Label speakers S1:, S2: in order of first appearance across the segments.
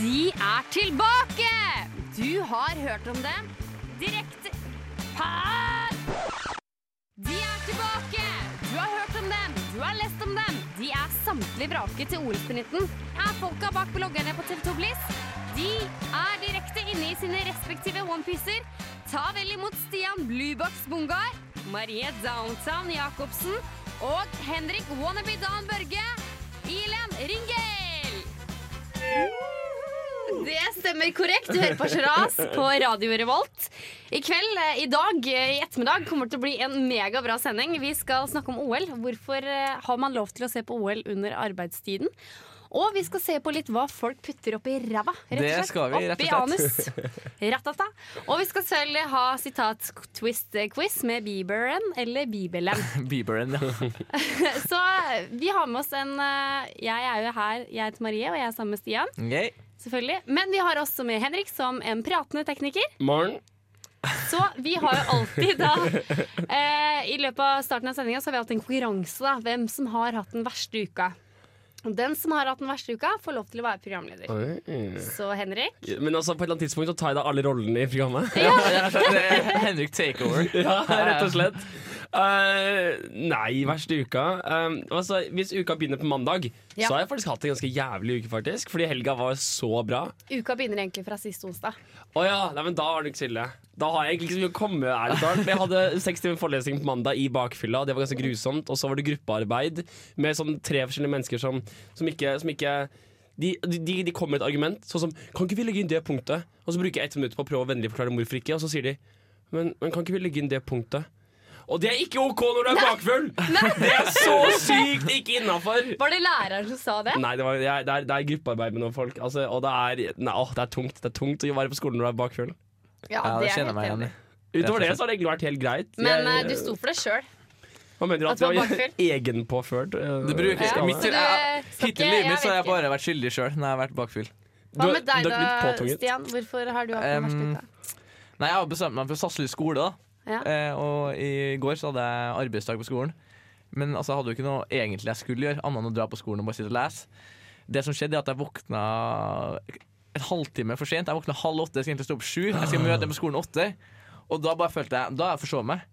S1: De er tilbake! Du har hørt om dem direkte Par! De er tilbake! Du har hørt om dem, du har lest om dem. De er samtlig vraket til OL-spriten. Er folka bak bloggerne på TV2 Bliss? De er direkte inne i sine respektive onepiecer. Ta vel imot Stian Bluebox Bungar, Marie Downtown Jacobsen og Henrik Wannabe Dan Børge. Ilan Ringel! Det stemmer korrekt. Du hører på Sjaras på Radio Revolt. I kveld, eh, i dag, eh, i ettermiddag kommer det til å bli en megabra sending. Vi skal snakke om OL. Hvorfor eh, har man lov til å se på OL under arbeidstiden? Og vi skal se på litt hva folk putter oppi ræva. rett og
S2: Det
S1: slett.
S2: skal vi, rett og
S1: Oppi anus. Ratata. Og vi skal selvfølgelig ha sitat-twist-quiz med Bieberen eller Bibelen.
S2: Bieberen, ja.
S1: Så eh, vi har med oss en eh, Jeg er jo her, jeg heter Marie, og jeg er sammen med Stian.
S2: Ok.
S1: selvfølgelig Men vi har også med Henrik som en pratende tekniker.
S3: Morgen.
S1: Så vi har jo alltid da eh, I løpet av starten av sendinga har vi hatt en konkurranse. da Hvem som har hatt den verste uka. Og Den som har hatt den verste uka, får lov til å være programleder. Så Henrik
S3: Men altså, på et eller annet tidspunkt så tar jeg da alle rollene i programmet.
S2: Ja, rett og slett. Det er Henrik Takeover.
S3: Ja, rett og slett. Eh, nei, verste uka Eh, altså, Hvis uka begynner på mandag,
S1: Ja.
S3: så har jeg faktisk hatt en ganske jævlig uke, faktisk. Fordi helga var så bra.
S1: Uka begynner egentlig fra sist onsdag.
S3: Å ja, nei, men da var det ikke så ille. Da har jeg egentlig ikke så mye å komme med. ærlig talt. Jeg hadde seks timer forelesning på mandag i bakfylla, og det var ganske grusomt. Og så var det gruppearbeid med sånn tre forskjellige mennesker som, som ikke, som ikke de, de, de kommer med et argument, sånn som 'Kan ikke vi legge inn det punktet?' Og så bruker jeg ett minutt på å prøve å vennlig forklare hvorfor ikke, og så sier de men, 'Men kan ikke vi legge inn det punktet?' Og det er ikke OK når du er bakfull! Det er så sykt ikke innafor!
S1: Var det læreren som sa det?
S3: Nei, det, var, jeg- det, er, det er gruppearbeid med noen folk, altså, og det er, nei, åh, det er tungt. Det er tungt å være på skolen når du er bakfull.
S2: Ja,
S1: det er
S2: det kjenner
S1: helt
S2: jeg meg igjen
S1: enig.
S2: i.
S3: Utover det så har det egentlig vært helt greit.
S1: Men eh,
S3: Jeg-
S1: du sto for det sjøl.
S3: Hva mener du
S1: at
S3: at,
S1: du var
S3: jeg var egenpåført? eh,
S2: Det bruker
S1: Ja,
S3: skade?
S2: mitt,
S1: så du
S2: jeg,
S1: skal ikke-
S2: Hittil i livet
S1: jeg
S2: mitt så har jeg
S1: vet ikke.
S2: bare vært skyldig sjøl når jeg har vært bakfyll.
S3: Du
S1: Hva
S3: er-
S1: med deg
S3: du er ikke
S1: da,
S3: litt påtvunget?
S1: Stian? Hvorfor har du hatt den verste
S2: Um,
S1: uka?
S2: Nei, jeg har bestemt meg for Sasselig skole, da.
S1: Ja.
S2: Eh, og i går så hadde jeg arbeidsdag på skolen. Men altså, jeg hadde jo ikke noe egentlig jeg skulle gjøre, annet enn å dra på skolen og bare sitte og lese. Det som skjedde, er at jeg våkna en halvtime for sent. Jeg våkna halv åtte, jeg skal egentlig stå opp sju. Jeg skal møte dem på skolen åtte. Og da bare følte jeg Da har jeg forsovet meg.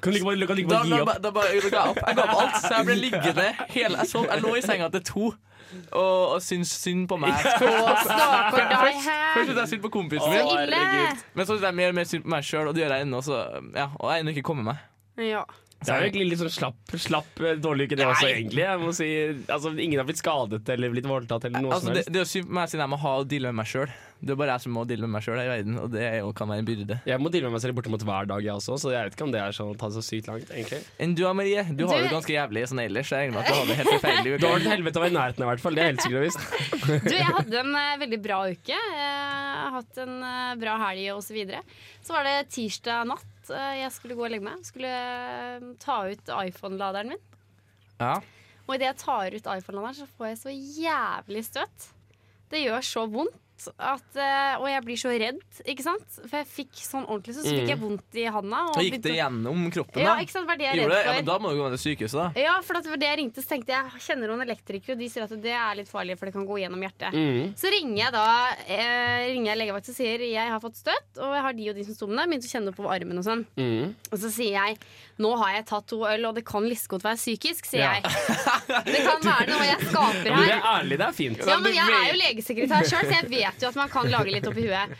S3: Kan du ikke bare, kan du ikke
S2: Da,
S3: bare
S2: da,
S3: gi opp?
S2: ba- da bare da ga jeg opp. Jeg ga opp alt, så jeg ble liggende hele Jeg, sov, jeg lå i senga til to og, og syntes synd på meg.
S1: Å, stakkar deg
S2: Først
S1: her!
S2: syntes jeg synd på kompisen
S1: Så
S2: min,
S1: ille!
S3: herregud.
S2: men så syntes jeg mer og mer synd på meg sjøl, og det gjør jeg ennå. Så, ja, og jeg har ennå ikke kommet meg.
S1: Ja.
S3: Det er jo egentlig litt sånn slapp, slapp eh, dårlig uke, det også, egentlig. Jeg må si, altså, ingen har blitt skadet eller blitt voldtatt eller noe
S2: Altså,
S3: som
S2: det,
S3: helst.
S2: det er jo synd på meg siden jeg må ha å deale med meg sjøl. Det er bare jeg som må deale med meg sjøl i verden, og det er jo, kan være en byrde.
S3: Jeg må deale med meg selv bortimot hver dag, jeg også, så jeg vet ikke om det er sånn å ta det så sykt langt, egentlig.
S2: Enn du, Marie? Du har
S1: Du-
S2: det jo ganske jævlig sånn ellers. Jeg regner med at du har det helt forferdelig.
S3: Det var et helvete å være i nærheten av, i hvert fall. Det er helt sikkert og visst.
S1: Du, jeg hadde en eh, veldig bra uke. Eh, Jeg har hatt en eh, bra helg og Så, videre. så var det tirsdag natt eh, jeg skulle gå og legge meg. Skulle eh, ta ut iPhone-laderen min.
S2: Ja.
S1: Og idet jeg tar ut iPhone-laderen, så får jeg så jævlig støt. Det gjør så vondt. At, eh, og jeg blir så redd, ikke sant? For jeg fikk sånn ordentlig så, så fikk jeg vondt i handa. og
S2: Da Mm. gikk det
S1: begynte å-
S2: gjennom kroppen,
S1: Ja,
S2: da.
S1: ikke sant? Det var det jeg
S2: Gjorde
S1: er
S2: det? Ja,
S1: redd
S2: men
S1: for.
S2: da må du gå med til sykehuset, da.
S1: Ja, for at det var det jeg ringte, så tenkte jeg jeg kjenner noen elektrikere, og de sier at det er litt farlig, for det kan gå gjennom hjertet.
S3: Mm.
S1: Så ringer jeg da eh, Ringer jeg legevakt og sier jeg har fått støtt, og jeg har de og de symptomene. Begynte å kjenne på armen og sånn.
S3: Mm.
S1: Og så sier jeg nå har jeg tatt to øl, og det kan litt godt være psykisk, sier
S3: Ja.
S1: jeg. Det kan være noe jeg skaper
S3: Men det
S1: her.
S3: er ærlig, det er fint.
S1: Ja, men jeg er jo legesekretær sjøl, så jeg vet jo at man kan lage litt oppi huet.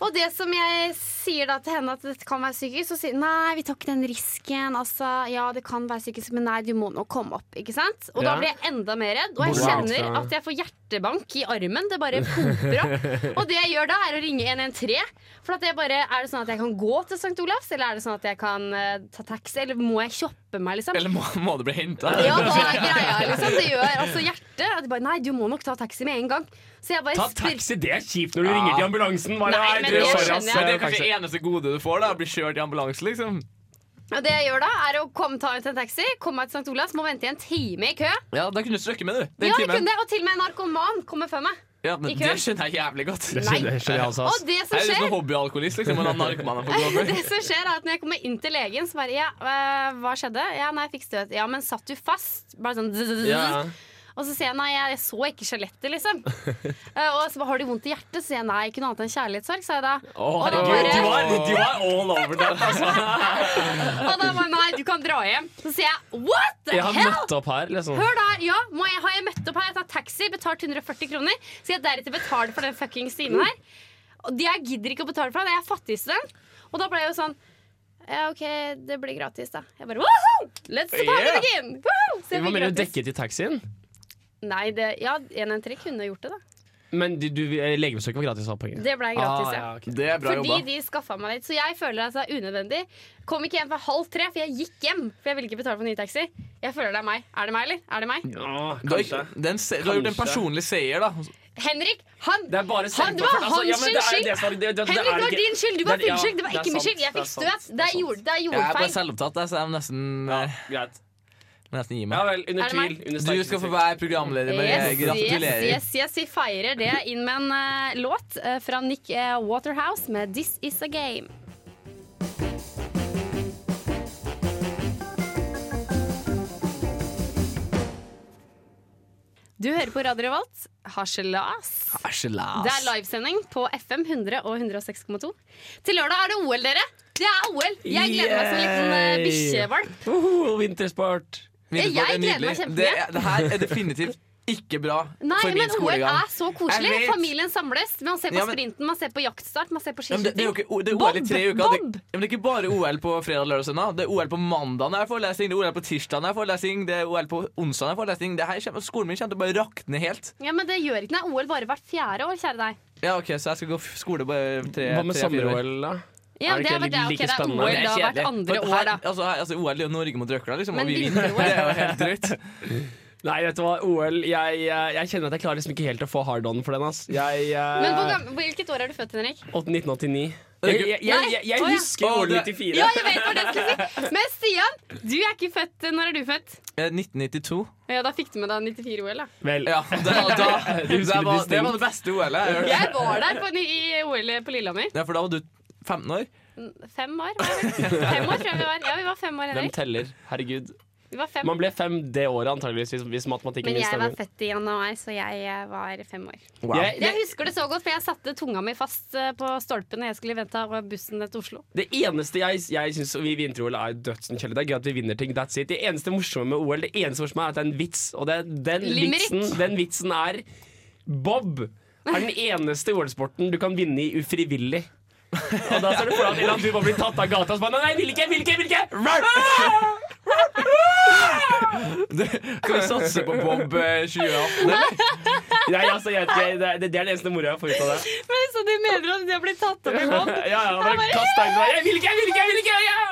S1: Og det som jeg sier da til henne at dette kan være psykisk, så sier hun nei, vi tar ikke den risken. Altså, ja, det kan være psykisk, men nei, du må nå komme opp. Ikke sant? Og da
S3: Ja.
S1: blir jeg enda mer redd. Og jeg
S3: Wow.
S1: kjenner at jeg får hjertebank i armen. Det bare pumper opp. Og det jeg gjør da, er å ringe 113. For at jeg bare, Er det sånn at jeg kan gå til St. Olavs, eller er det sånn at jeg kan eh, ta taxi, eller må jeg kjoppe meg, liksom?
S2: Eller må, må du bli henta?
S1: Ja, hva er greia, liksom? Det gjør altså hjertet at de bare, Nei, du må nok ta taxi med en gang. Så jeg bare
S3: Ta
S1: spør-
S3: taxi, det er kjipt når du
S2: Ja.
S3: ringer til ambulansen. Bare,
S1: Nei, men
S3: du,
S1: det
S3: sorry,
S1: skjønner
S3: ass,
S1: jeg.
S2: Men det
S3: eh,
S2: er kanskje
S3: kanskje-
S2: eneste gode du får, da, å bli kjørt i ambulanse, liksom.
S1: Og det jeg gjør da, er å komme ta ut en taxi, komme meg til St. Olavs, må vente i en time i kø.
S2: Ja, da kunne du strøkke med, du. Den
S1: Ja, jeg
S2: timen.
S1: kunne, og til og med en narkoman kommer før meg.
S2: Ja, men
S1: I kø.
S2: det skjønner jeg jævlig godt.
S3: Det
S1: Nei.
S3: skjønner jeg- skjønner jeg også, ass.
S1: Og det som
S2: Jeg er litt sånn
S1: skjer
S2: hobbyalkoholist, liksom. Man har narkomaner på blåbær.
S1: det som skjer er at Når jeg kommer inn til legen, så bare Ja, eh, hva skjedde? Ja, nei, jeg fikk støt. Ja, men satt du fast? Bare sånn
S3: Ja.
S1: Og så sier jeg nei, jeg så ikke skjelettet, liksom. Eh, og så har de vondt i hjertet, så sier jeg nei, ikke noe annet enn kjærlighetssorg, sa jeg da.
S3: Å,
S1: Og da
S3: herregud,
S1: bare-
S3: du var, du var all over that, altså.
S1: Og da bare nei, du kan dra hjem. Så sier jeg what the
S3: Jeg har
S1: hell?
S3: møtt opp her, liksom.
S1: Hør da, ja, må jeg, Har jeg møtt opp her? Jeg tar taxi, betalt 140 kroner. Skal jeg deretter betale for den fuckings timen her? Og det jeg gidder ikke å betale for, det er jeg fattig student. Og da ble jeg jo sånn Ja, OK, det blir gratis, da. Jeg bare Woohoo! Let's party
S3: Yeah!
S1: again! Woohoo! Så jeg
S3: Hva
S1: fikk
S3: mener du
S1: gratis.
S3: dekket i taxien?
S1: Nei, det, ja, 113 kunne gjort det, da.
S3: Men du, du, eh, legebesøk var gratis, sa poenget.
S1: Det ble gratis, ja.
S3: Ah, ok.
S2: Det er bra
S1: Fordi
S2: jobba.
S1: de skaffa meg litt. Så jeg føler at det er unødvendig. Kom ikke hjem for halv tre, for jeg gikk hjem. For jeg ville ikke betale for ny taxi. Jeg føler det er meg. Er det meg, eller? Er det meg?
S3: Ja,
S2: Du har,
S3: Ah, kanskje.
S2: ikke- det er en se- du har gjort en
S3: Kanskje.
S2: personlig seier, da.
S1: Henrik, han,
S3: Det er bare
S1: han det var
S3: selvpåført. Altså, ja,
S1: hans
S3: men det er-
S1: skyld!
S3: det er- det er- Altså, det er- det
S1: Henrik, det
S3: er
S1: var
S3: ikke-
S1: din skyld! Du var
S3: det er- ja,
S1: din skyld, det var
S3: det er
S1: ikke min
S3: sant,
S1: skyld! Jeg
S3: det er
S1: fikk støt.
S3: sant, det er
S1: Det er
S3: sant.
S1: jord- det er
S2: Jeg er bare
S1: jordfeil.
S2: selvopptatt, jeg, så jeg må nesten,
S3: Ja,
S2: eh,
S3: greit.
S2: må nesten gi
S3: Ja
S2: meg.
S3: vel, under
S1: Er det
S3: tvil.
S1: meg?
S3: Under
S2: Du
S3: sterk
S2: skal få
S3: kritikk.
S2: være programleder, men jeg
S1: Yes, yes,
S2: gratulerer.
S1: yes, yes, vi feirer det inn med en eh, låt eh, fra Nick eh, Waterhouse med 'This Is A Game'. Du hører på Radio Revolt, harselas.
S2: Harselas.
S1: Det er livesending på FM 100 og 106,2. Til lørdag er det OL, dere! Det er OL! Jeg gleder meg som en liten eh,
S3: Yay!
S1: bikkjevalp.
S3: Uhu, vintersport.
S2: Vintersport
S1: Eh, Jeg
S2: er
S1: gleder meg
S2: nydelig.
S1: kjempemye.
S2: Det, er- det her er definitivt ikke bra
S1: Nei,
S2: for min
S1: men OL
S2: skolegang.
S1: er så koselig.
S2: Jeg vet.
S1: Familien samles. Man ser på
S2: Ja, men-
S1: sprinten, man ser på jaktstart, man ser på
S2: Ja, men det, det er jo
S1: skiskyting.
S2: ikke det er
S1: Bob!
S2: OL i tre uker.
S1: Bob!
S2: Det, ja, men det er ikke bare OL på fredag, lørdag og søndag. Det er OL på mandag når jeg får lesing, det er OL på tirsdag når jeg får lesing, det er OL på onsdag når jeg får lesing. Det her kommer, skolen min kommer til å bare rakne helt.
S1: Ja, men det gjør ikke noe. OL bare hvert fjerde år, kjære deg.
S2: Ja, OK, så jeg skal gå f- skole bare tre
S3: Hva med
S2: tre- fire år.
S3: sommer-OL, da?
S1: Ja,
S3: Er
S1: det
S3: det ikke
S1: er vel det.
S3: like
S1: Ok, det er
S3: spennende?
S1: OL
S3: Det er
S1: da hvert
S2: Kjedelig.
S1: andre
S2: For
S1: år,
S2: her-
S1: da.
S2: Altså, her, altså, OL er jo Norge mot røkla, liksom,
S1: Men
S2: og vi
S1: vinter-
S2: vinner. Det er jo helt drøyt.
S3: Nei, vet du hva, OL Jeg, jeg, jeg kjenner at jeg klarer liksom ikke helt å få hard on for den. ass Jeg, eh,
S1: Men hvor gam- hvilket år er du født, Henrik?
S3: 1989. Jeg, jeg, jeg, jeg, jeg
S1: Nei,
S2: å
S3: husker
S2: ja.
S3: OL
S2: Å, det-
S3: 94.
S1: Ja, jeg vet hva det skal si! Men Stian, du er ikke født Når er du født?
S2: Eh, 1992.
S1: Ja, da fikk du med deg 94-OL, da.
S3: Vel,
S2: Ja, det, var- da, det,
S3: Du husker det
S2: var,
S3: distinkt.
S2: det var det beste OL-et jeg har hørt.
S1: Jeg var der på, i OL på Lillehammer.
S2: Ja, for da var du 15 år.
S1: Fem år, var jeg vel? Fem år tror jeg vi var. Ja, vi var fem år,
S3: hvem
S1: Henrik.
S3: teller? Herregud.
S1: Vi var fem.
S3: Man ble fem det året, antageligvis, hvis, hvis
S1: Men
S3: matematikken min
S1: jeg var
S3: stemmer.
S1: født i januar, så jeg eh, var fem år.
S2: Wow.
S3: Jeg-
S1: Jeg husker det så godt, for jeg satte tunga mi fast eh, på stolpen da jeg skulle vente av bussen til Oslo.
S3: Det eneste jeg, jeg syns vi i vinter-OL er dødsenkjellig, det er gøy at vi vinner ting. That's it. Det eneste morsomme med OL, det eneste morsomme er at det er en vits, og det, den,
S1: Limerick.
S3: vitsen, den vitsen er Bob er den eneste OL-sporten du kan vinne i ufrivillig. Og da ser du for deg at en eller annen du bare blir tatt av gata og så bare Nei, nei, jeg vil ikke, jeg vil ikke! Jeg vil ikke!
S2: Skal vi satse på Bob eh, 2018?
S3: Nei, altså, jeg, jeg, det, er- det er det eneste moroa jeg får ut av det.
S1: Men Så du mener at det blir tatt opp i bånd?
S3: Ja, ja, bare kast deg ut. Jeg vil ikke, jeg vil ikke! jeg vil ikke ja.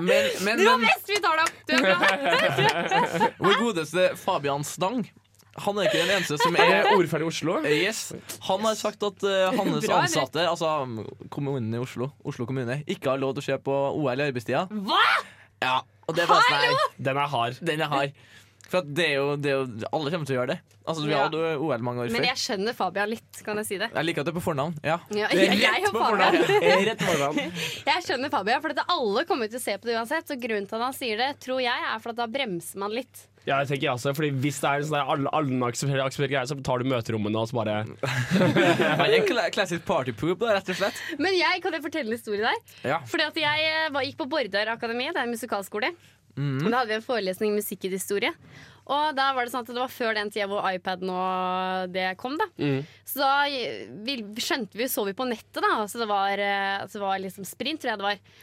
S2: Men, men,
S1: Du var
S2: men
S1: best, vi tar det opp! Du er bra.
S2: vår godeste Fabian Stang, han er ikke den eneste som er
S3: Eh, Ordfører i Oslo.
S2: Yes. Han har sagt at eh, hans
S1: Bra, Henrik.
S2: ansatte, altså kommunen i Oslo, Oslo kommune, ikke har lov til å se på OL i arbeidstida.
S1: Hva?!
S2: Ja, og det er bare sånn her,
S3: Den er hard.
S2: den jeg har. For at det er jo, det er jo Alle kommer til å gjøre det. Altså, Vi
S1: Ja.
S2: hadde jo OL mange år
S1: Men
S2: før. Jeg...
S1: jeg skjønner Fabian litt, kan jeg si det.
S2: liker at det er på fornavn. Ja.
S1: Ja, jeg, jeg, og Fabian.
S3: Rett på fornavn.
S1: jeg skjønner Fabian, for at alle kommer til å se på det uansett. Og grunnen til at han sier det, tror jeg, er for at da bremser man litt.
S3: Ja, jeg tenker jeg også, fordi Hvis det er en sånn der alle, alle aksepterer, aksepterer greier, så tar du møterommene og så bare
S2: Han er en kla- classic party poop, da, rett og slett.
S1: Men jeg, kan jeg fortelle en historie der?
S2: Ja.
S1: Fordi at jeg eh, var, gikk på Bordar Akademi, det er en musikalskole. Da hadde vi en forelesning i musikk i historie. Og da var det sånn at det var før den tida hvor iPaden og det kom, da. Så da eh, vi, skjønte vi, så vi på nettet, da. Så det var, eh, at det var liksom sprint, tror jeg det var.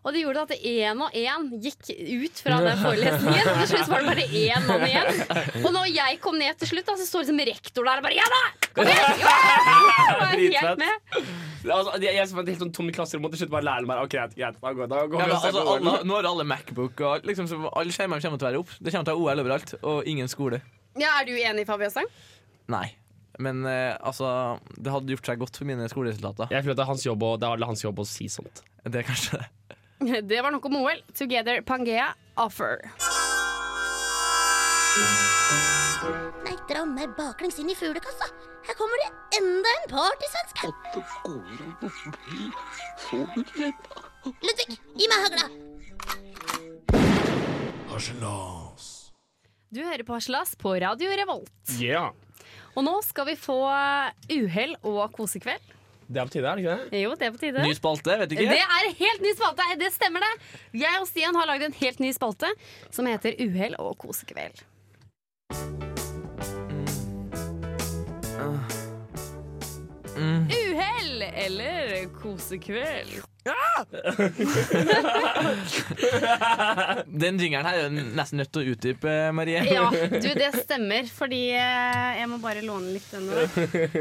S1: Og det gjorde at én og én gikk ut fra den forelesningen. Og til slutt var det bare én mann igjen. Og når jeg kom ned til slutt, da, så står liksom rektor der og bare Ja da! Kom igjen! Ja! Jeg var
S3: Dritfett.
S1: helt med.
S3: altså, Jeg, jeg som er helt sånn tom i klasserommet, til slutt bare læreren bare OK, greit, greit, da går, da går
S2: Ja,
S3: vi
S2: men,
S3: og ser
S2: altså,
S3: på
S2: alle,
S3: OL.
S2: nå har alle Macbook, og liksom, så alle skjermene kommer til å være opp. Det kommer til å være OL overalt, og ingen skole.
S1: Ja, er du enig, Fabian Stang?
S2: Nei. Men eh, altså, det hadde gjort seg godt for mine skoleresultater.
S3: Jeg føler at det er hans jobb å, det er hans jobb å si sånt.
S2: Det er kanskje det.
S1: Det var nok om OL. Together Pangea offer.
S4: Nei, dra meg baklengs inn i fuglekassa. Her kommer det enda en partysvenske. Ludvig, gi meg hagla.
S1: Du hører på Haslas på Radio Revolt.
S3: Yeah.
S1: Og nå skal vi få eh, uhell og kosekveld.
S3: Det er på tide, er det ikke det?
S1: Jo, det er på tide.
S2: Ny spalte, vet ikke.
S1: Det er en helt ny spalte! Det stemmer, det. Jeg og Stian har lagd en helt ny spalte som heter Uhell og kosekveld.
S2: Mm.
S1: Uhell eller kosekveld?
S2: Den jingeren her er jo nesten nødt til å utdype, Marie.
S1: Ja, du, det stemmer. Fordi eh, Jeg må bare låne litt den nå.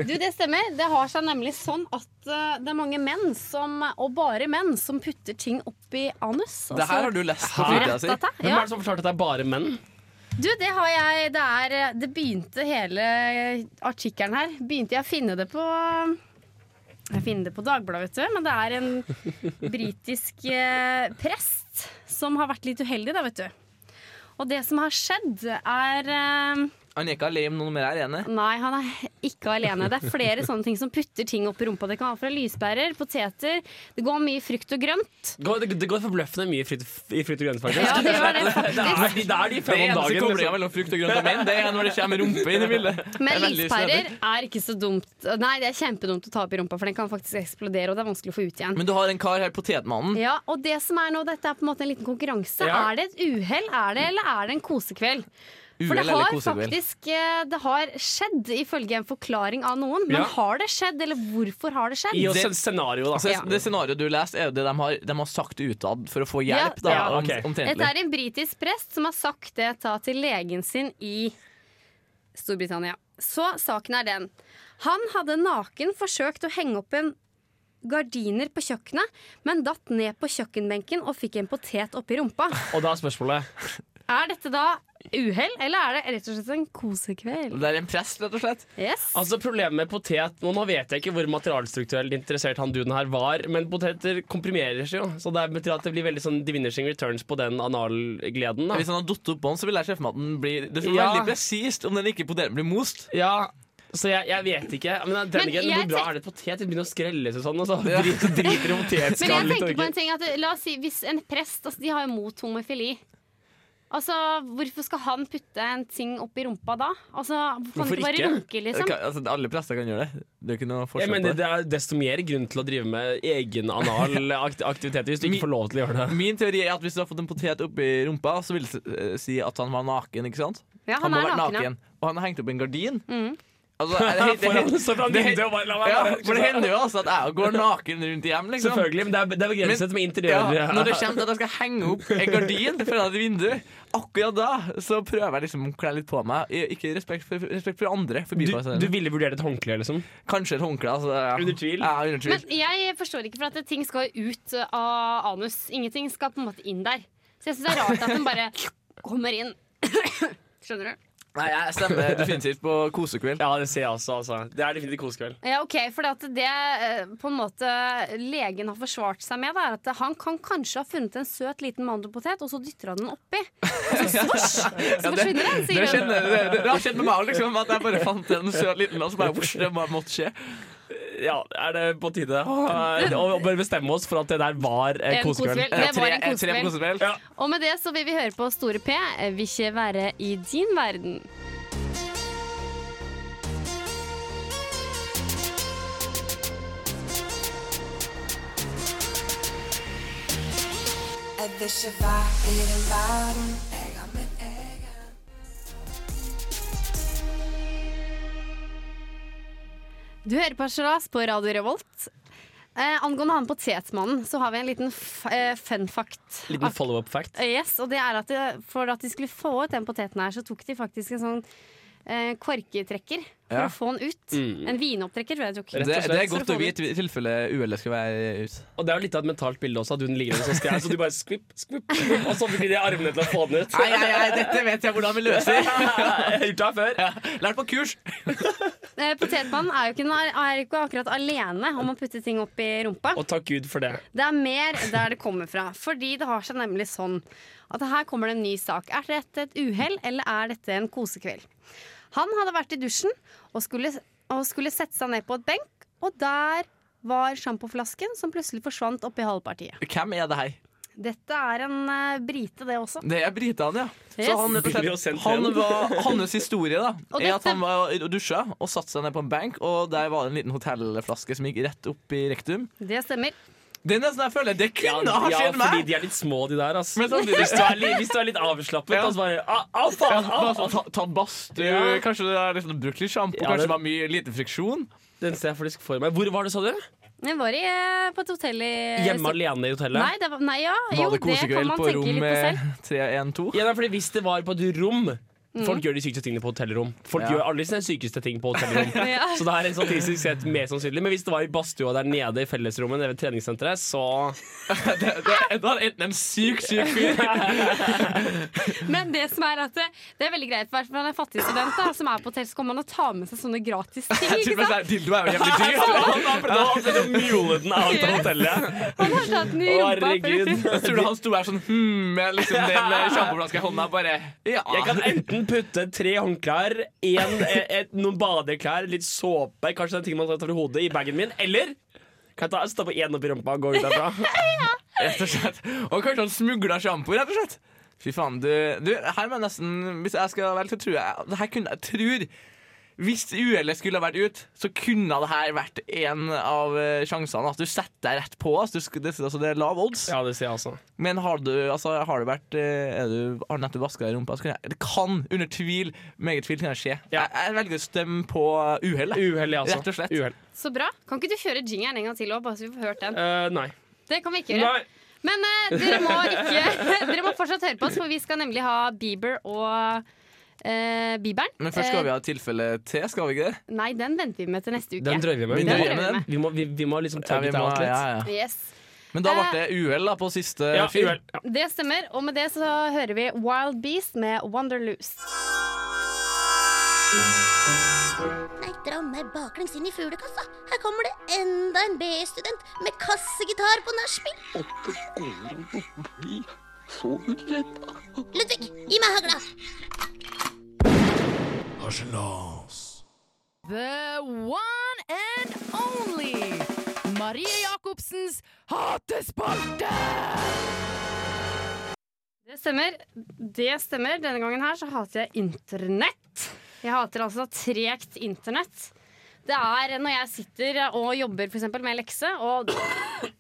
S1: Du, det stemmer. Det har seg nemlig sånn at eh, det er mange menn som, og bare menn, som putter ting opp i anus. Altså, og
S2: Det
S1: så-
S2: her har du lest på
S3: Hæ?
S2: fritida si.
S1: Ratata,
S3: Hvem
S1: ja.
S3: er det som forklarte at det er bare menn?
S1: Du, det har jeg Det, er, eh, det begynte hele artikkelen her. Begynte jeg å finne det på Jeg finner det på Dagbladet, vet du. Men det er en britisk eh, prest som har vært litt uheldig, da, vet du. Og det som har skjedd, er eh,
S2: Han er ikke alene om noe mer her, ene.
S1: Nei, han er ikke alene. Det er flere sånne ting som putter ting opp i rumpa. Det kan være fra lyspærer, poteter. Det går mye frukt og grønt.
S3: Går- Det, det går forbløffende mye i fritt, i fritt og grønt, faktisk.
S1: Ja, det gjør det
S3: Det er,
S1: faktisk.
S3: de- det er de
S2: Det
S3: fem om
S2: eneste
S3: dagen.
S2: koblinga
S3: Liksom.
S2: mellom frukt og grønt og menn, det er når det kommer rumpe inn i bildet.
S1: Men
S2: Det er veldig
S1: lyspærer
S2: snedig.
S1: er ikke så dumt. Nei, det er kjempedumt å ta opp i rumpa, for den kan faktisk eksplodere, og det er vanskelig å få ut igjen.
S2: Men du har en kar her, Potetmannen.
S1: Ja, og det som er nå, dette er på en måte en liten konkurranse.
S3: Ja.
S1: Er det et uhell, er det, eller er det en kosekveld? For det
S2: Uhell eller
S1: har
S2: kosekveld?
S1: faktisk eh, det har skjedd, ifølge en forklaring av noen. Men
S3: Ja.
S1: har det skjedd, eller hvorfor har det skjedd?
S3: Gi oss
S2: Det-
S3: et scenario, da.
S2: Altså,
S1: Ja.
S2: Det scenarioet du leste, er jo det de har, de har sagt utad for å få
S1: Ja,
S2: hjelp. da,
S3: ja.
S2: om-
S3: Ok.
S2: omtrentlig.
S1: Dette er en britisk prest som har sagt det ta til legen sin i Storbritannia. Så saken er den. Han hadde naken forsøkt å henge opp en gardiner på kjøkkenet, men datt ned på kjøkkenbenken og fikk en potet oppi rumpa.
S3: Og da er spørsmålet
S1: Er dette da uhell, eller er det rett og slett en kosekveld?
S2: Det er en prest, rett og slett.
S1: Yes.
S3: Altså Problemet med potet og Nå vet jeg ikke hvor materialstrukturelt interessert han duden her var, men poteter komprimerer seg jo. Så det betyr at det blir veldig sånn diminishing returns på den analgleden. da.
S2: Hvis han hadde datt opp på den, så ville jeg se for meg at den blir Det er
S3: Ja.
S2: veldig presist om den ikke på den blir most.
S3: Ja, så jeg, jeg vet ikke. Men, den
S1: Men
S3: igjen,
S1: jeg
S3: hvor bra
S1: tenk-
S3: er det et potet? Det begynner å skrelle seg sånn, og så driter, driter i
S1: Men jeg
S3: potetskallen litt.
S1: tenker på en
S3: og ikke-
S1: ting at, La oss si, hvis en prest altså, De har jo mot homofili Altså, Hvorfor skal han putte en ting opp i rumpa da? Altså, Kan det
S3: Hvorfor
S1: ikke bare
S3: ikke?
S1: runke, liksom?
S2: Kan- Altså, alle prester kan gjøre det. Det er ikke noe
S3: Jeg
S2: forskjell på
S3: mener
S2: det.
S3: Det er desto mer grunn til å drive med egen anal akt- aktivitet hvis du ikke får lov til å gjøre det.
S2: Min teori er at hvis du har fått en potet oppi rumpa, så vil det eh, si at han var naken. ikke sant?
S1: Ja, han
S2: må
S1: er
S2: ha vært
S1: naken, ja. Mm.
S2: Og han har hengt opp en gardin. Altså, er det, det, det,
S3: Foran- så foran
S2: det-
S3: vinduet og bare la meg
S2: ja,
S3: være.
S2: for det hender jo altså at jeg går naken rundt i hjem. liksom.
S3: Selvfølgelig, men det er, det er begrenset med interiør.
S2: Ja, når det kommer til at jeg skal henge opp en gardin foran et vindu, akkurat da så prøver jeg liksom å kle litt på meg. I- Ikke respekt for, respekt for andre.
S3: du, du
S2: Forbipasserende.
S3: ville vurdert et håndkle, liksom?
S2: Kanskje et håndkle. Altså, ja.
S3: Under tvil?
S2: Ja, under tvil.
S1: Men jeg forstår ikke, for at ting skal jo ut av anus. Ingenting skal på en måte inn der. Så jeg syns det er rart at den bare kommer inn. Skjønner du?
S2: Nei, jeg stemmer definitivt på kosekveld.
S3: Ja, det ser jeg også. Altså. Det er definitivt kosekveld.
S1: Ja, ok, For det, at det eh, på en måte legen har forsvart seg med, da, er at han kan kanskje ha funnet en søt liten mandelpotet, og så dytter han den oppi. Og så svosj! Så forsvinner den,
S2: Det,
S1: sier hun.
S2: skjedde, det, det, det har skjedd med meg òg, liksom. At jeg bare fant en søt liten og så bare vosj, det bare måtte skje.
S3: Ja, er det på tide å, å, å bare bestemme oss for at det der var eh,
S1: En kosekveld.
S3: kosekveld?
S1: Det var en
S2: Tre- tre på kosekveld.
S3: Ja.
S1: Og med det så vil vi høre på Store P, Vil ikke være i din verden.
S5: Jeg vil ikke være i den verden. Jeg har min egen.
S1: Du hører på Sjalas på Radio Revolt. Eh, angående han potetmannen, så har vi en liten f eh, fun fact.
S3: Liten follow-up-fact.
S1: Eh, yes, og det er at det, For at de skulle få ut den poteten her, så tok de faktisk en sånn eh, korketrekker for
S2: Ja. Mm.
S1: å få den ut. En vinopptrekker, tror jeg de tok.
S2: Det,
S3: Rett og slett.
S2: det er godt å vite i tilfelle uhellet skal være ute.
S3: Og det er jo litt av et mentalt bilde også, at hun ligger der så skrev, så du bare skvipp, skvipp, skvipp, og så blir de armene til å få den ut.
S2: Nei, nei, nei, dette vet jeg hvordan vi løser.
S3: Jeg har gjort det her før.
S2: Lært på kurs.
S1: Eh, potetmannen er jo ikke, noe- er ikke akkurat alene om å putte ting opp i rumpa.
S3: Og takk Gud for det.
S1: Det er mer der det kommer fra. Fordi det har seg nemlig sånn at her kommer det en ny sak. Er dette et uhell, eller er dette en kosekveld? Han hadde vært i dusjen og skulle, og skulle sette seg ned på et benk, og der var sjampoflasken som plutselig forsvant oppi halvpartiet.
S2: Hvem er det her?
S6: Dette er en eh, brite, det også.
S2: Det er britene, ja. Så
S6: Yes.
S2: han, rett og slett-
S3: Billig å sende
S2: han
S3: frem.
S2: var, hans historie da
S1: Og
S2: er at
S1: dette-
S2: han var og dusja og satte seg ned på en benk, og der var det en liten hotellflaske som gikk rett opp i rektum.
S6: Det stemmer.
S2: Det er nesten jeg føler Det kunne ha
S3: ja,
S2: skjedd
S3: fordi
S2: meg!
S3: de er litt små, de der. ass.
S2: Men samtidig
S3: Hvis du er litt, hvis du er litt avslappet,
S2: Ja.
S3: da, så bare Au, au,
S2: Ja,
S3: faen! Au,
S2: bare
S3: au.
S2: sånn, ta- Tatt badstue,
S3: Ja.
S2: kanskje det er liksom brukt litt sjampo,
S3: Ja,
S2: kanskje
S3: det-
S2: det var mye lite friksjon.
S3: Den ser jeg faktisk for meg. Hvor var det, sa du?
S1: Jeg var i, eh, på et hotell i
S3: Hjemme alene i hotellet?
S1: Nei, det var, nei ja.
S2: Var
S1: jo,
S2: det
S1: det kan
S2: kosekveld
S1: man
S2: på
S1: tenke
S2: rom
S1: litt på
S2: eh,
S1: selv.
S2: 312?
S3: Ja, nei, fordi Hvis det var på et rom Folk gjør de sykeste tingene på hotellrom. Folk
S2: Ja.
S3: gjør alle sine sykeste ting på hotellrom.
S1: Ja.
S3: Så det er en statistisk sett mer sannsynlig. Men hvis det var i badstua der nede i fellesrommet nede ved treningssenteret, så
S2: Det, det, da er det enten en syk, syk fyr
S1: Men det som er at det, det er veldig greit for en fattig student da, som er på hotell, så kan man jo ta med seg sånne gratis ting.
S2: til og
S1: ikke
S2: med
S1: sant?
S2: sånn, Dildo er jo jævlig dyr.
S3: Mule den
S1: av til
S3: hotellet.
S1: Han har tatt den i
S3: Å,
S1: rumpa. for-
S3: herregud.
S2: Jeg tror du han sto her sånn hmm, med liksom den eh, sjampoflaska i hånda bare ja.
S3: Jeg kan enten putte tre håndklær, en, et, noen badeklær, litt såpe, kanskje det er ting man tar over hodet, i bagen min, eller kan jeg ta, stappe én opp i rumpa og gå ut derfra.
S2: Rett og slett. Og kanskje han smugla sjampo, rett og slett. Fy faen, du, du Her må jeg nesten Hvis jeg skal velge, så tror jeg det her kunne, Jeg tror Hvis uhellet skulle ha vært ut, så kunne det her vært en av eh, sjansene. At du setter deg rett på. Altså, du, sk- det, altså, det er lav odds.
S3: Ja, det ser jeg også.
S2: Men har du, altså, har du vært eh, er du, Har du nettopp vaska deg i rumpa, så kan jeg Det kan, under tvil, meget tvil, kan det skje.
S3: Ja.
S2: Jeg, jeg velger å stemme på uhellet.
S3: Uheldig, altså.
S2: Rett og slett.
S3: Uhell.
S1: Så bra. Kan ikke du kjøre jingeren en gang til også, bare så vi får hørt den?
S3: Eh, nei.
S1: Det kan vi ikke gjøre.
S3: nei.
S1: Men eh, dere må ikke Dere må fortsatt høre på oss, for vi skal nemlig ha Bieber og eh, Bieberen.
S2: Men først skal vi ha et tilfelle til, skal vi ikke det?
S1: Eh, Nei, den venter vi med til neste uke.
S3: Den drøyer vi med.
S2: Vi
S1: Den
S2: drøyer med
S1: drøyer
S2: den.
S3: Vi må, vi, vi må liksom
S2: Ja, vi
S3: tagge det
S2: må-
S3: out litt.
S2: ja, ja.
S1: Yes.
S2: Men da ble det uhell da, på siste
S3: Ja,
S2: fyr.
S3: uhell. Ja.
S1: Det stemmer. Og med det så hører vi Wild Beast med Wanderloose.
S4: Nei, dra meg baklengs inn i fuglekassa. Her kommer det enda en B-student med kassegitar på nachspiel. Ludvig, gi meg hagla.
S7: The one and only Marie Jacobsens hatespalte!
S1: Det stemmer. Det stemmer. Denne gangen her så hater jeg internett. Jeg hater altså tregt internett. Det er når jeg sitter og jobber for eksempel med en lekse, og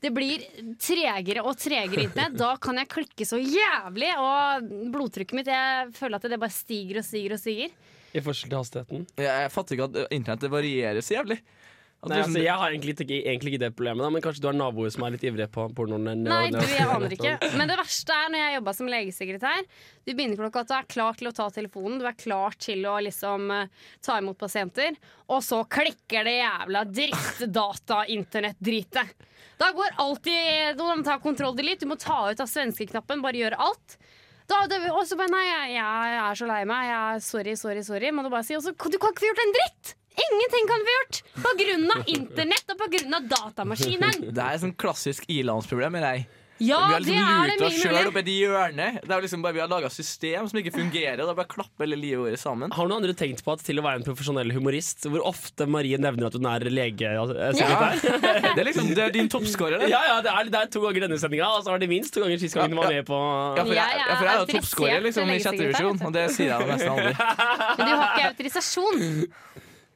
S1: det blir tregere og tregere internett. Da kan jeg klikke så jævlig, og blodtrykket mitt Jeg føler at det bare stiger og stiger og stiger.
S3: I forskjell til hastigheten.
S2: Jeg, jeg fatter ikke at eh, internettet varierer så jævlig. At
S3: Nei,
S2: det er sånn-
S3: altså, jeg har egentlig ikke, egentlig ikke det problemet, da, men kanskje du har naboer som er litt ivrige på pornoen? eller-
S1: Nei, du,
S3: eller-
S1: jeg aner ikke. Men det verste er når jeg jobba som legesekretær. Du begynner klokka at du er klar til å ta telefonen, du er klar til å liksom eh, ta imot pasienter, og så klikker det jævla drittdata-internett-dritet. Da går alltid Du må ta kontroll-delete, du må ta ut av svenskeknappen, bare gjøre alt. Da, det, og så bare Nei, jeg, jeg er så lei meg. Jeg er sorry, sorry, sorry. Må du bare si. Og så Du kan ikke få gjort en dritt! Ingenting kan vi få gjort! På grunn av internett og på grunn av datamaskinen.
S2: Det er et sånn klassisk ilandsproblem. mener jeg.
S1: Ja,
S2: vi
S1: det er
S2: har liksom lurt
S1: det
S2: oss
S1: mye
S2: sjøl
S1: mulig.
S2: opp i et hjørne. Det er liksom bare, vi har laga system som ikke fungerer. Da bare klapper hele livet vårt sammen.
S3: Har noen andre tenkt på at til å være en profesjonell humorist, hvor ofte Marie nevner at hun er lege? altså, eh,
S2: Ja.
S3: sekretær?
S2: Det er liksom det er din toppscorer. det.
S3: Ja, ja, det er, det er to ganger denne sendinga, og så var det minst to ganger sist gangen hun var med på
S2: Ja, for jeg,
S1: Jeg er
S2: ja, for jeg er jo
S1: autorisert
S2: toppscorer liksom, i sjette
S1: legesekretær,
S2: divisjon,
S1: vet du.
S2: og det sier jeg jo nesten aldri.
S1: Men du har ikke autorisasjon.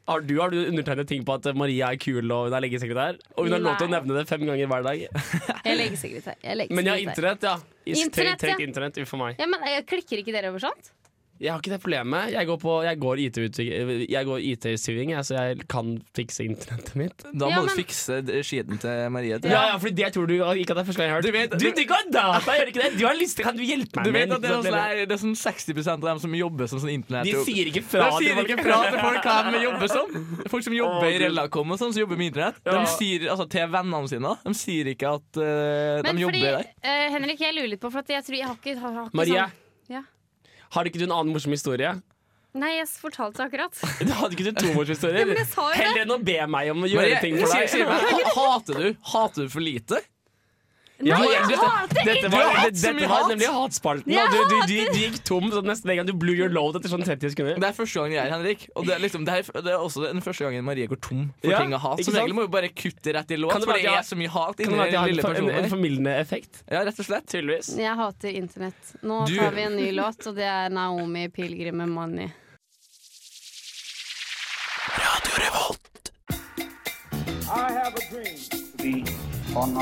S3: Har du, har du undertegnet ting på at Marie er kul og hun er legesekretær? Og hun har lov til å
S1: Nei.
S3: nevne det fem ganger hver dag.
S1: Jeg er legesekretær. Jeg er legesekretær.
S3: Men jeg har internett, ja. Is-
S1: Internett,
S3: take, take
S1: ja.
S3: internett, uff a meg.
S1: Ja, men jeg Klikker ikke dere over sånt?
S3: Jeg har ikke det problemet. Jeg går, på- jeg går IT-utvikling, jeg går IT-syving, jeg, så jeg kan fikse internettet mitt.
S2: Da
S1: Ja,
S2: må du
S1: men-
S2: fikse d- skiten til Marie. tror jeg.
S3: Ja, ja, fordi det tror du ikke at det er første gang jeg har hørt.
S2: Du vet-
S3: du, du kan data, gjør du ikke det? Du har lyst, kan du hjelpe meg
S2: Du vet
S3: med
S2: at det er,
S3: en-
S2: sånn, der- det er sånn 60 av dem som jobber som sånn internett...
S3: De sier ikke
S2: De
S3: fra.
S2: sier
S3: til
S2: ikke
S3: folk.
S2: fra til folk hva de jobber som. Folk som jobber
S3: Å,
S2: i
S3: Gud.
S2: Relacom og sånn, som jobber med internett.
S3: Ja.
S2: De sier altså, til vennene sine De sier ikke at eh,
S1: Men
S2: de
S1: fordi,
S2: jobber der.
S1: eh, Henrik, jeg lurer litt på, for at jeg tror jeg har ikke, har, har ikke
S3: Marie,
S1: sånn Ja.
S3: har ikke du en annen morsom historie?
S1: Nei, jeg fortalte det akkurat.
S3: Hadde ikke du to morsomme
S1: Ja, men
S3: historier?
S1: jeg sa jo det.
S3: Heller enn å be meg om å gjøre
S2: Marie,
S3: ting
S2: sier-
S3: for deg.
S2: sier meg, ha- Hater du Hater du for lite? Ja,
S6: Nei,
S2: jeg-
S6: jeg hater
S2: dette
S3: Du
S2: var-
S6: ikke
S3: har
S2: det-
S3: hatt så
S2: dette
S3: mye
S2: var
S3: hat! Nemlig hatspalten.
S6: Jeg
S3: og Du, du, du, du gikk tom så nesten en gang du blew your load etter sånn 30 sekunder.
S2: Det er første gangen jeg er Henrik, og det er, liksom, det er, det er også den første gangen Marie går tom for
S3: Ja,
S2: ting å hate.
S3: ikke
S2: Som
S3: sant?
S2: regel må vi bare kutte rett i låt,
S3: Kan det
S2: for
S3: være
S2: det
S3: at jeg-
S2: er så mye hat
S3: Kan
S2: inni
S3: det være at
S2: den
S3: jeg
S2: lille
S3: har en,
S2: personen
S3: en, en
S2: her.
S3: formildende effekt?
S2: Ja, rett og slett.
S3: Tydeligvis.
S8: Jeg hater internett. Nå
S2: Du-
S8: tar vi en ny låt, og det er Naomi Pilgrim med 'Money'.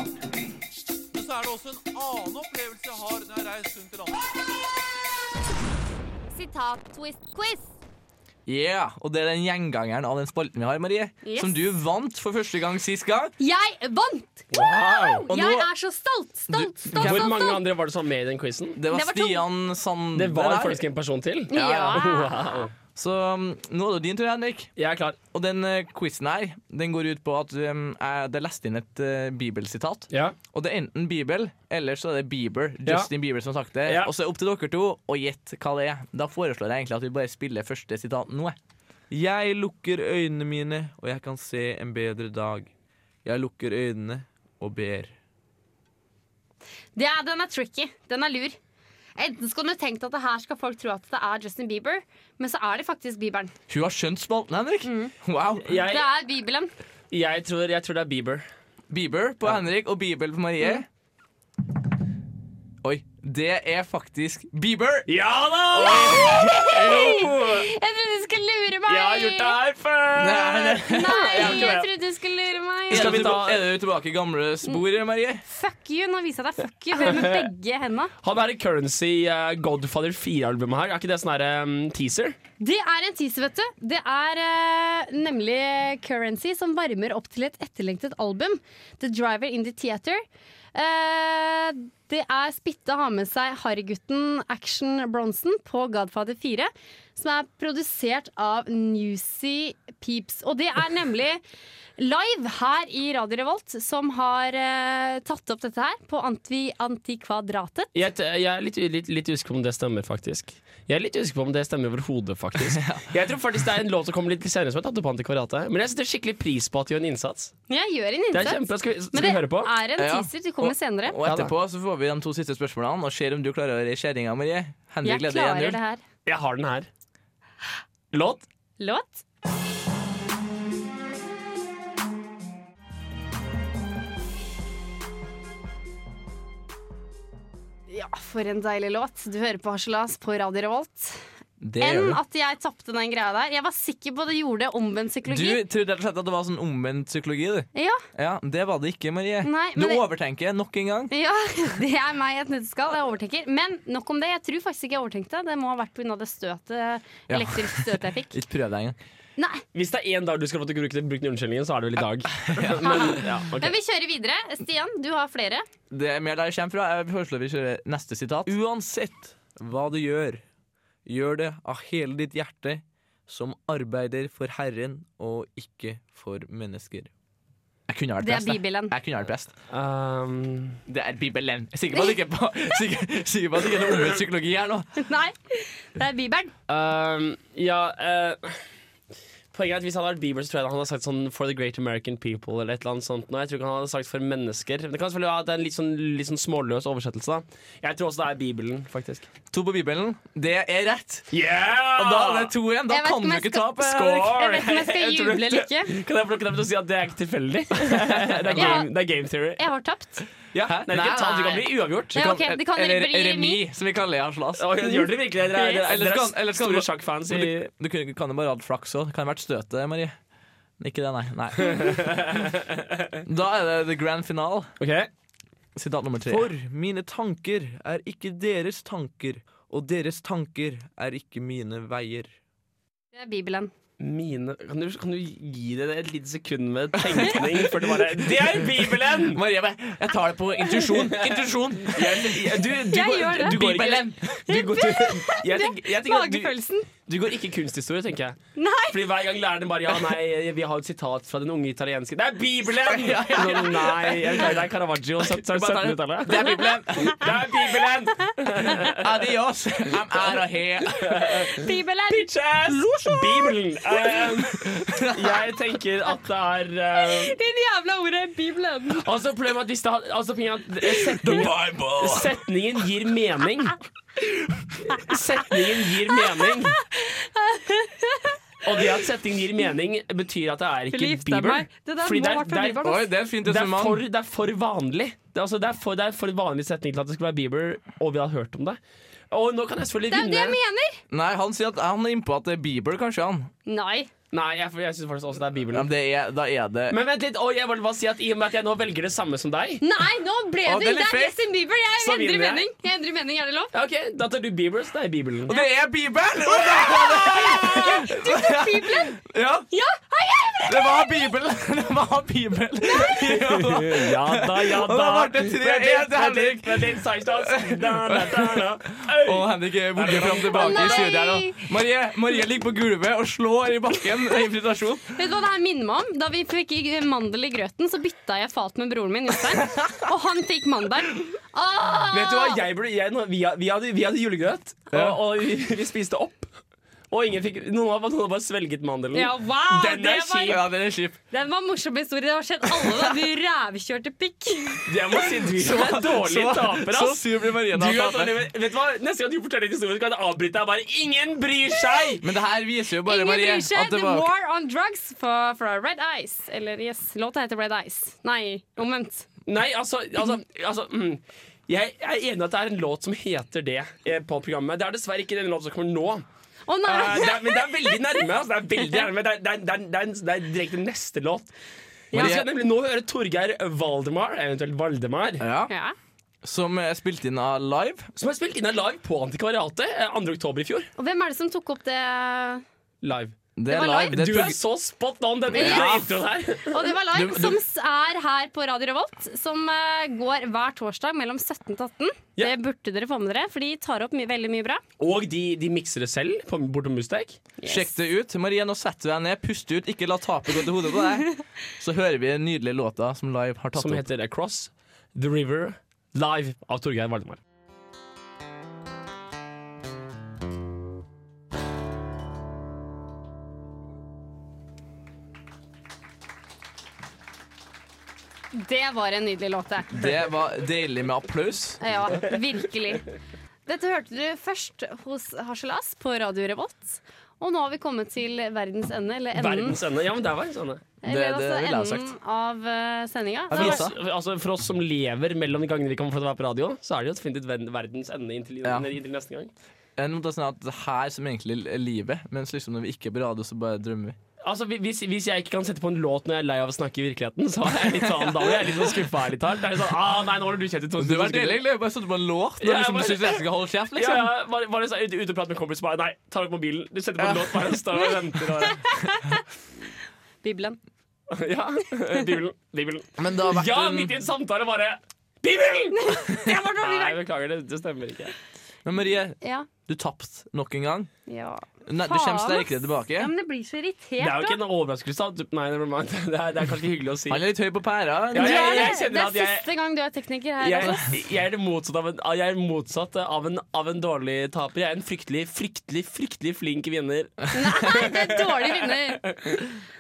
S9: så er det også en annen opplevelse jeg har når jeg reiser rundt i landet.
S1: Sitat-twist-quiz.
S2: Yeah, og det er den gjengangeren av den spalten vi har, Marie,
S1: Yes.
S2: som du vant for første gang sist gang.
S1: Jeg vant!
S3: Wow!
S2: Og
S1: Jeg
S2: nå-
S1: er så stolt, stolt,
S2: Du-
S1: stolt.
S3: Hvor
S1: stolt,
S3: mange
S1: stolt.
S3: andre var det som var med i den quizen?
S2: Det var
S1: Det var to.
S2: Stian Sand...
S3: Mm. Det var
S2: der.
S3: faktisk en person til.
S1: Ja.
S3: Wow.
S2: Så um, nå er det din tur, Henrik.
S3: Jeg er klar.
S2: Og den uh, quizen her den går ut på at um, jeg, det er lest inn et eh, bibelsitat.
S3: Ja.
S2: Og det er enten Bibel, eller så er det Bieber.
S3: Ja.
S2: Justin Bieber som har sagt det.
S3: Ja.
S2: Og så er det opp til dere to å gjette hva det er. Da foreslår jeg egentlig at vi bare spiller første sitat nå. jeg. Jeg lukker øynene mine, og jeg kan se en bedre dag. Jeg lukker øynene og ber.
S1: Det er, den er tricky. Den er lur. Enten skulle du tenkt at det her skal folk tro at det er Justin Bieber, men så er det faktisk Bieberen.
S2: Hun har skjønt spalten, Henrik. Wow.
S1: Det
S3: Jeg,
S1: er Bibelen.
S3: jeg, tror, jeg tror det er Bieber.
S2: Bieber på Henrik og Bibel på Marie.
S1: Mm.
S2: Oi. Det er faktisk Bieber.
S3: Ja da!
S1: Jeg trodde du skulle lure meg!
S3: Jeg har gjort det her før!
S2: Nei,
S1: Nei,
S3: Jeg har ikke
S1: jeg
S3: det.
S1: trodde du skulle lure meg.
S2: Er
S3: Skal vi
S2: du,
S3: ta-
S2: er du tilbake i gamle spor,
S1: Mm.
S2: Marie?
S1: Fuck you! Nå viser jeg deg fuck you Hører med begge henda.
S3: Han er i Currency eh, Godfather 4-albumet her. Er ikke det sånn her em, teaser?
S1: Det er en teaser, vet du. Det er eh, nemlig Currency som varmer opp til et etterlengtet album. The Driver in the Theater. Eh, det er Spitte har med seg harrygutten Action Bronson på Godfather 4. Som er produsert av Newsy Peeps. Og det er nemlig live her i Radio Revolt som har eh, tatt opp dette her på Anti Antikvadratet.
S3: Jeg, t- jeg er litt, litt, litt usikker på om det stemmer, faktisk. Jeg er litt usikker på om det stemmer overhodet, faktisk. Jeg tror faktisk det er en låt som kommer litt senere, som er tatt opp på Antikvariatet. Men jeg setter skikkelig pris på at de gjør en innsats.
S1: Jeg gjør en
S3: Det er
S1: innsats.
S3: kjempe, skal vi,
S1: Men
S3: skal vi høre på?
S1: det er en
S2: Ja.
S1: teaser. Det kommer senere.
S2: Og etterpå så får vi de to siste spørsmålene og ser om du klarer å re kjerringa, Marie. Henrik
S1: Jeg
S2: leder
S1: klarer
S2: 1-0.
S1: det her.
S3: Jeg har den her. Låt?
S1: Låt? Ja, for en deilig låt. Du hører på Harselas på Radio Revolt.
S2: Det gjør
S1: Enn
S2: du.
S1: at jeg tapte den greia der. Jeg var sikker på at det gjorde omvendt
S2: Du
S1: psykologi.
S2: trodde rett og slett at det var sånn omvendt psykologi, du.
S1: Ja,
S2: Ja, Det var det ikke, Marie.
S1: Nei,
S2: du
S1: men det-
S2: overtenker nok en gang.
S1: ja, det er meg i et nøtteskall. Jeg overtenker. Men nok om det. Jeg tror faktisk ikke jeg overtenkte. Det må ha vært pga. det støtet,
S2: Ja.
S1: elektriske støtet jeg fikk.
S2: Ikke prøv deg engang.
S1: Nei,
S3: Hvis det er én dag du skal få til å bruke den bruke den unnskyldningen, så er det vel i dag. Men, ja, ok.
S1: Men vi kjører videre. Stian, du har flere.
S2: Det er mer der jeg kommer fra. Jeg foreslår vi kjører neste sitat. Uansett hva du gjør, gjør det av hele ditt hjerte, som arbeider for Herren og ikke for mennesker. Jeg kunne vært
S1: Det er
S2: prest. jeg.
S1: Bibelen.
S2: Jeg kunne vært prest.
S3: Um,
S2: Det er Bibelen. Jeg er sikker på at det ikke er på- sikker- sikker på at det ikke er noe omvendt psykologi her nå.
S1: Nei, det er Bibelen.
S3: um, ja eh, Poenget er at Hvis han hadde vært Bieber, så tror jeg han hadde sagt sånn 'For the great American people' eller et eller annet sånt. nå. jeg tror ikke han hadde sagt 'for mennesker'. Men det kan selvfølgelig være at det er en litt sånn, litt sånn småløs oversettelse. da Jeg tror også det er Bibelen, faktisk.
S2: To på Bibelen. Det er rett.
S3: Yeah!
S2: Og da er det to igjen. Da
S1: Jeg vet ikke
S2: kan
S1: om
S2: du
S1: jeg
S2: ikke
S1: skal-
S2: tape. Henrik.
S3: Score!
S1: Jeg vet ikke om jeg skal
S3: tror du-
S1: juble eller ikke.
S3: Kan jeg få lov til å si at det er ikke tilfeldig? det, er
S1: Ja.
S3: game, det er game theory.
S1: Jeg har tapt.
S3: Ja,
S2: Hæ?
S3: Nei, det
S2: Nei,
S3: kan, ta- det kan
S2: nei.
S3: bli uavgjort.
S1: Ja, ok, det kan
S2: eller
S1: bli remis.
S2: remis, som vi kaller det i Harselas.
S3: Å, Gjør dere virkelig det? Dere er, dere er,
S2: Eller
S3: dere
S2: kan-
S3: er,
S2: eller kan
S3: store
S2: du-
S3: sjakkfans.
S2: Men
S3: i...
S2: Du, du kunne- kan jo bare hatt flaks òg. Kan ha vært støtet, Marie. Ikke det, nei. nei. Da er det the grand finale. Sitat nummer tre. For mine tanker er ikke deres tanker, og deres tanker er ikke mine veier.
S1: Det er Bibelen.
S3: Mine kan du, kan du gi det et lite sekund med tenkning? Før du bare, det er Bibelen!
S2: Marie, jeg bare- jeg tar det på intuisjon. Intuisjon!
S3: Jeg, jeg- du, du,
S1: Jeg
S3: går-
S1: gjør det.
S3: Du går ikke,
S2: Bibelen.
S3: du går, du, jeg, tenker, jeg tenker at du,
S1: Magefølelsen.
S3: Du går ikke kunsthistorie, tenker jeg.
S10: Nei!
S3: Fordi hver gang læreren bare Ja, nei, vi har et sitat fra den unge italienske Det er Bibelen! Nå, nei, jeg- nei, det er Caravaggio. sytt-
S2: Bare
S3: sytt-
S2: ta det.
S3: 1700-tallet.
S2: Det er Bibelen!
S3: Det er Bibelen!
S2: Adios! I'm out of here!
S10: Bibelen!
S3: Bitches! Bibelen! Eh, jeg tenker at det er eh,
S1: Din jævla ord er Bibelen!
S3: Altså, problemet er at hvis det hadde altså, poenget er at setningen,
S2: Bible!
S3: setningen gir mening. Setningen gir mening. Og det at setningen gir mening, betyr at det er ikke
S1: Forgift deg
S3: Bibelen.
S1: meg. Det der
S3: Fordi
S1: må
S3: det er-
S1: vært fra
S3: det er-
S1: Bibelen.
S2: Oi, det er et fint
S3: Det er,
S2: resonnement.
S3: for, det er for vanlig. Det er, altså, det, er for, det er for vanlig setning til at det skulle være Bieber, og vi har hørt om det. Og nå kan jeg selvfølgelig
S11: Det er jo det jeg
S3: vinne.
S11: mener!
S2: Nei, han sier at han er innpå at det er Bieber, kanskje han.
S11: Nei.
S3: Nei, jeg, jeg syns faktisk også det er
S2: Ja,
S3: Bibelen.
S2: men det er, da er det
S3: Men vent litt, og jeg vil bare si at i og med at jeg nå velger det samme som deg
S11: Nei, nå ble du
S2: Å,
S11: Det
S2: det er litt
S11: er
S2: fake.
S11: Justin Bieber. Jeg
S3: Så
S11: endrer
S3: vinner jeg.
S11: mening. Jeg endrer mening, Er det lov?
S3: Ja, Ok, Da tar du Bieber, så det er Bibelen.
S2: Og det er Bibelen! Og det var det! Du tok Bibelen? Ja. det var Bibelen! Det var Bibelen. Jo.
S3: Ja da, ja
S2: Og da ble det tre- en til Henrik.
S3: Vent litt, Seistad. Da, da, da, da.
S2: Og
S3: Øy.
S2: Henrik er vugget fram og tilbake i studiet her nå. Marie, Marie ligger på gulvet og slår i bakken i frustrasjon.
S1: Vet du hva det her minner meg om? Da vi fikk i- mandel i grøten, så bytta jeg fat med broren min, Jostein. Og han fikk mandel.
S3: Vet du hva, jeg burde, jeg, nå- vi, ha- vi, hadde, vi hadde julegrøt,
S2: Ja.
S3: og, og vi, vi spiste opp. Og ingen fikk, noen av noen har bare svelget mandelen.
S1: Ja, wow!
S3: Den
S1: det
S3: er
S1: var,
S3: kjip.
S2: Ja, den er kjip.
S1: den var en morsom historie. Det har skjedd alle da du rævkjørte pikk.
S3: Jeg må si du er en dårlig
S2: Så-
S3: taper,
S2: Så
S3: ass.
S2: sur blir Marie
S3: Du
S2: når
S3: er
S2: han
S3: sånn,
S2: taper.
S3: vet vet du hva, Neste gang du forteller en historie, skal jeg avbryte deg. Bare 'ingen bryr seg'!
S2: Men det her viser jo bare,
S1: Ingen
S2: Marie,
S1: bryr seg.
S2: at det
S1: The
S2: var
S1: War on Drugs fra, fra Red Eyes. Eller yes, låta heter Red Eyes. Nei, omvendt.
S3: Nei, altså, altså, altså mm. Jeg er enig i at det er en låt som heter det eh, på programmet. Det er dessverre ikke den låten som kommer
S1: Å
S3: nå.
S2: Ah,
S3: Eh,
S1: nei!
S3: det er, men det er veldig nærme. Altså, det er veldig nærme Det er, det er, det er, det er, det er direkte neste låt. Vi skal nemlig nå høre Torgeir Valdemar, eventuelt Valdemar,
S2: ja,
S1: Ja.
S2: som er spilt inn av live.
S3: som har spilt inn en live på Antikvariatet eh, 2. oktober i fjor.
S1: Og hvem er det som tok opp det?
S3: Live.
S2: Det er
S1: var
S2: live. Det
S3: Du
S2: tok-
S3: er så spot on, den
S1: Ja.
S3: introen her.
S1: Og det var Live, som s- er her på Radio Revolt. Som eh, går hver torsdag mellom 17 til 18.
S3: Ja.
S1: Det burde dere få med dere, for de tar opp mye, veldig mye bra.
S3: Og de, de mikser det selv på, bortom Mustek.
S2: Sjekk det ut. Marie, nå setter du deg ned, puste ut, ikke la tapet gå til hodet på deg. Så hører vi den nydelige låta som Live har tatt
S3: som
S2: opp.
S3: heter Across the River Live av Torgeir Valdemar.
S2: Mm.
S1: Det var en nydelig låt, det.
S2: Det var deilig med applaus.
S1: Ja, virkelig. Dette hørte du først hos Harselas på Radio Revolt. Og nå har vi kommet til verdens ende, eller enden,
S3: Verdens ende. Ja, men der var en sånn.
S1: eller
S2: Det- det
S1: altså
S2: ville jeg ha sagt.
S1: enden av uh, sendinga.
S2: Ja,
S1: Det har
S2: vi-
S1: vært-
S3: Altså, altså, for oss som lever mellom de gangene vi kan få være på radio, så er det jo definitivt ver- verdens ende inntil,
S2: Ja.
S3: inntil neste gang.
S2: En måte sånn at det her som egentlig er livet, mens liksom når vi ikke er på radio, så bare drømmer vi.
S3: Altså, hvi- hvis, hvis jeg ikke kan sette på en låt når jeg er lei av å snakke i virkeligheten, så er jeg litt sånn, da blir jeg litt sånn skuffa her litt hardt. Det er litt sånn, ah, nei, nå har du kjent i to
S2: Det var deilig, egentlig. Bare satt på en låt
S3: Ja,
S2: når liksom,
S3: bare-
S2: du syns jeg skal holde kjeft,
S3: Ja,
S2: liksom.
S3: ja, bare, bare så, sånn, ute, ute og prate med kompiser, bare nei, ta opp mobilen. Du setter på en låt, bare står og venter. Og,
S1: Bibelen.
S3: ja, Bibelen. Bibelen.
S2: Men det har vært
S3: Ja,
S2: en-
S3: midt i en samtale bare Bibelen! Nei,
S1: Nei.
S3: beklager, det, det stemmer ikke.
S2: Men Marie,
S1: Ja.
S2: du tapte nok en gang.
S1: ja.
S2: Nei, du
S1: Faen,
S2: kommer sterkere
S1: ass.
S2: tilbake.
S1: ja men det blir så
S3: Det er jo
S1: irritert,
S3: ikke
S1: da.
S3: en overraskelse. at du- Nei, never mind. Det er, det er kanskje ikke hyggelig å si.
S2: Han er litt høy på pæra.
S3: Ja,
S1: Du
S3: ja.
S2: Ja,
S1: er
S3: jeg- jeg
S1: det.
S3: kjenner
S1: Det
S3: at
S1: er
S3: jeg-
S1: siste gang du er tekniker her.
S3: Jeg,
S1: altså.
S3: jeg er det motsatt av en, jeg er motsatt av en, av en dårlig taper. Jeg er en fryktelig, fryktelig, fryktelig flink vinner.
S1: Nei, det er dårlig vinner.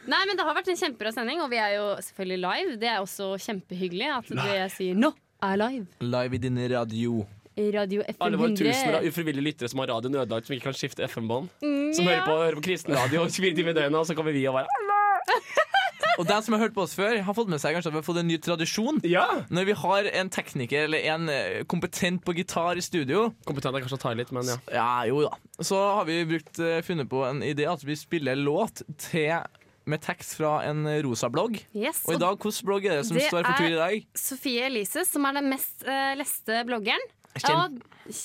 S1: Nei, men det har vært en kjempebra sending, og vi er jo selvfølgelig live. Det er også kjempehyggelig at det jeg sier nå, er live.
S2: Live i din radio.
S1: I Radio
S3: Alle våre tusener av
S1: FM100.
S3: ufrivillige lyttere som har radioen ødelagt, som ikke kan skifte FM-bånd. Som hører på, hører på kristen radio 24 timer i døgnet, og så kommer vi og bare
S2: Og den som har hørt på oss før, har fått med seg kanskje at vi har fått en ny tradisjon.
S3: Ja!
S2: Når vi har en tekniker eller en eh, kompetent på gitar i studio,
S3: Kompetent er kanskje å ta i litt, men ja.
S2: ja, jo da, så har vi brukt, eh, funnet på en idé at vi spiller låt til, med tekst fra en rosa blogg.
S1: Yes,
S2: Og i
S1: og
S2: dag, hvilken blogg er det som
S1: Det
S2: står for tur i dag?
S1: Sofie Elise, som er den mest eh, leste bloggeren, Ja,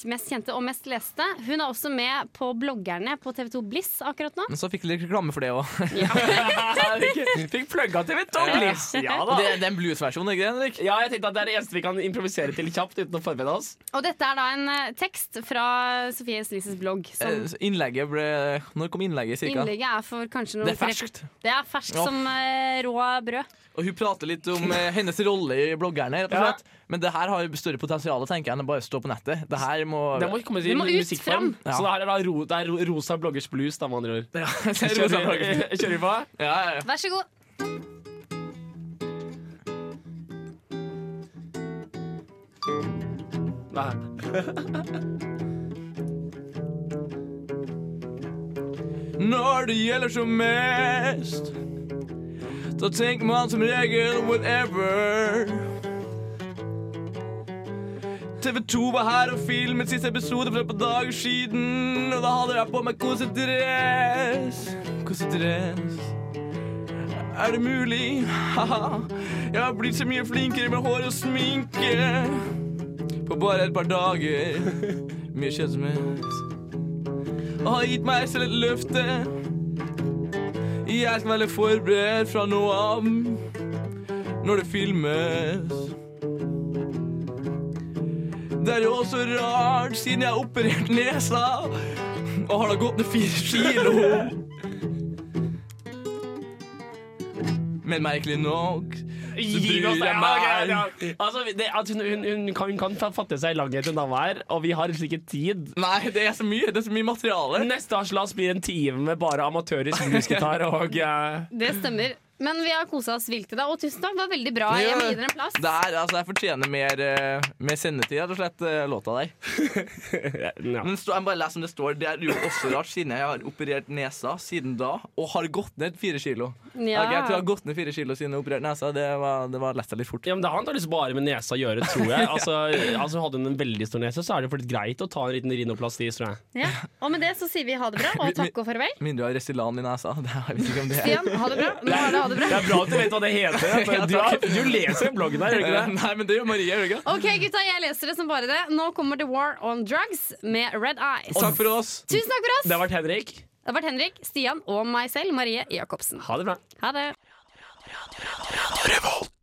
S1: mest kjente og mest leste. Hun er også med på bloggerne på TV2 Bliss akkurat nå.
S2: Men så fikk jeg litt reklame for det òg.
S3: Fikk plugga til mitt Bliss. Ja da.
S2: Det, det er en blues-versjon, ikke det, Henrik?
S3: Ja, jeg tenkte at Det er det eneste vi kan improvisere til kjapt uten å forberede oss.
S1: Og dette er da en eh, tekst fra Sofie Elises blogg. Som
S2: Eh, så Innlegget ble Når kom innlegget, cirka?
S1: innlegget er for kanskje noen
S2: Det er ferskt.
S1: Det er ferskt
S2: Ja.
S1: som eh, rå brød.
S2: Og hun prater litt om eh, hennes rolle i bloggerne. Rett og
S3: Ja.
S2: slett. Men det her har jo større potensial tenker jeg, enn å bare stå på nettet. Det her må,
S3: Det må komme
S1: Det
S3: til
S1: må ut
S3: musikkform.
S1: fram.
S3: Så det her er da ro, det er ro, rosa bloggers blues, da, med andre ord.
S2: ja,
S3: Kjører vi, kjører vi på?
S2: ja, ja.
S1: Vær så god.
S3: Nei.
S2: Når det gjelder som mest, så tenker man som regel whatever. TV 2 var her og filmet siste episode for et par dager siden, og da hadde jeg på meg kosedress. Kosedress. Er det mulig? Haha. Jeg har blitt så mye flinkere med hår og sminke. På bare et par dager. Mye kjedsomhet og har gitt meg selv et løfte. Jeg skal være forberedt fra nå av når det filmes. Det er jo også rart, siden jeg har operert nesa og har da gått ned fire kilo. Men merkelig nok så
S3: Gi
S2: bryr
S3: oss det.
S2: jeg
S3: Ja, ok,
S2: meg
S3: ja. Altså, det, at hun, hun, hun, kan, hun kan fatte seg i langhet, hun dama her, og vi har liksom ikke tid.
S2: Nei, det er så mye, det er så mye materiale.
S3: Neste avslags blir en time med bare amatørisk bluesgitar og eh,
S1: Det stemmer. Men vi har kosa oss vilt i dag. Og tusen takk, det var veldig bra. Jeg må gi dere en plass.
S2: Det her, altså, jeg fortjener mer, eh, mer sendetid, rett og slett, eh, låta der.
S3: ja.
S2: Men stå, jeg må bare lese om det står. Det er jo også rart, siden jeg har operert nesa siden da, og har gått ned fire kilo.
S1: Ja.
S2: Ok, jeg tror jeg har gått ned fire kilo siden jeg opererte nesa. Det var, det var lett seg litt fort.
S3: Ja, men Det har antakeligvis bare med nesa å gjøre, tror jeg. Altså, altså Hadde hun en veldig stor nese, så er det jo for litt greit å ta en liten rhinoplasti. tror jeg.
S1: Ja. Og med det så sier vi ha det bra, og takk og farvel.
S2: Mindre du har Restylane i nesa. Det, jeg vet ikke om det er
S1: Stian, ha det bra. Nå er det ha det
S3: Det
S1: bra.
S3: er bra at du vet hva det heter. for Du, har- du leser jo bloggen her, gjør du
S2: Eh,
S3: ikke det?
S2: Nei, men det gjør Marie, gjør det ikke?
S1: Ok, gutta, jeg leser det som bare det. Nå kommer The War on Drugs med Red Eyes.
S2: Takk for oss.
S1: Tusen takk for oss.
S3: Det har vært Henrik.
S1: Det har vært Henrik, Stian og meg selv, Marie Jacobsen.
S3: Ha det bra.
S1: Ha det.
S12: Revolt.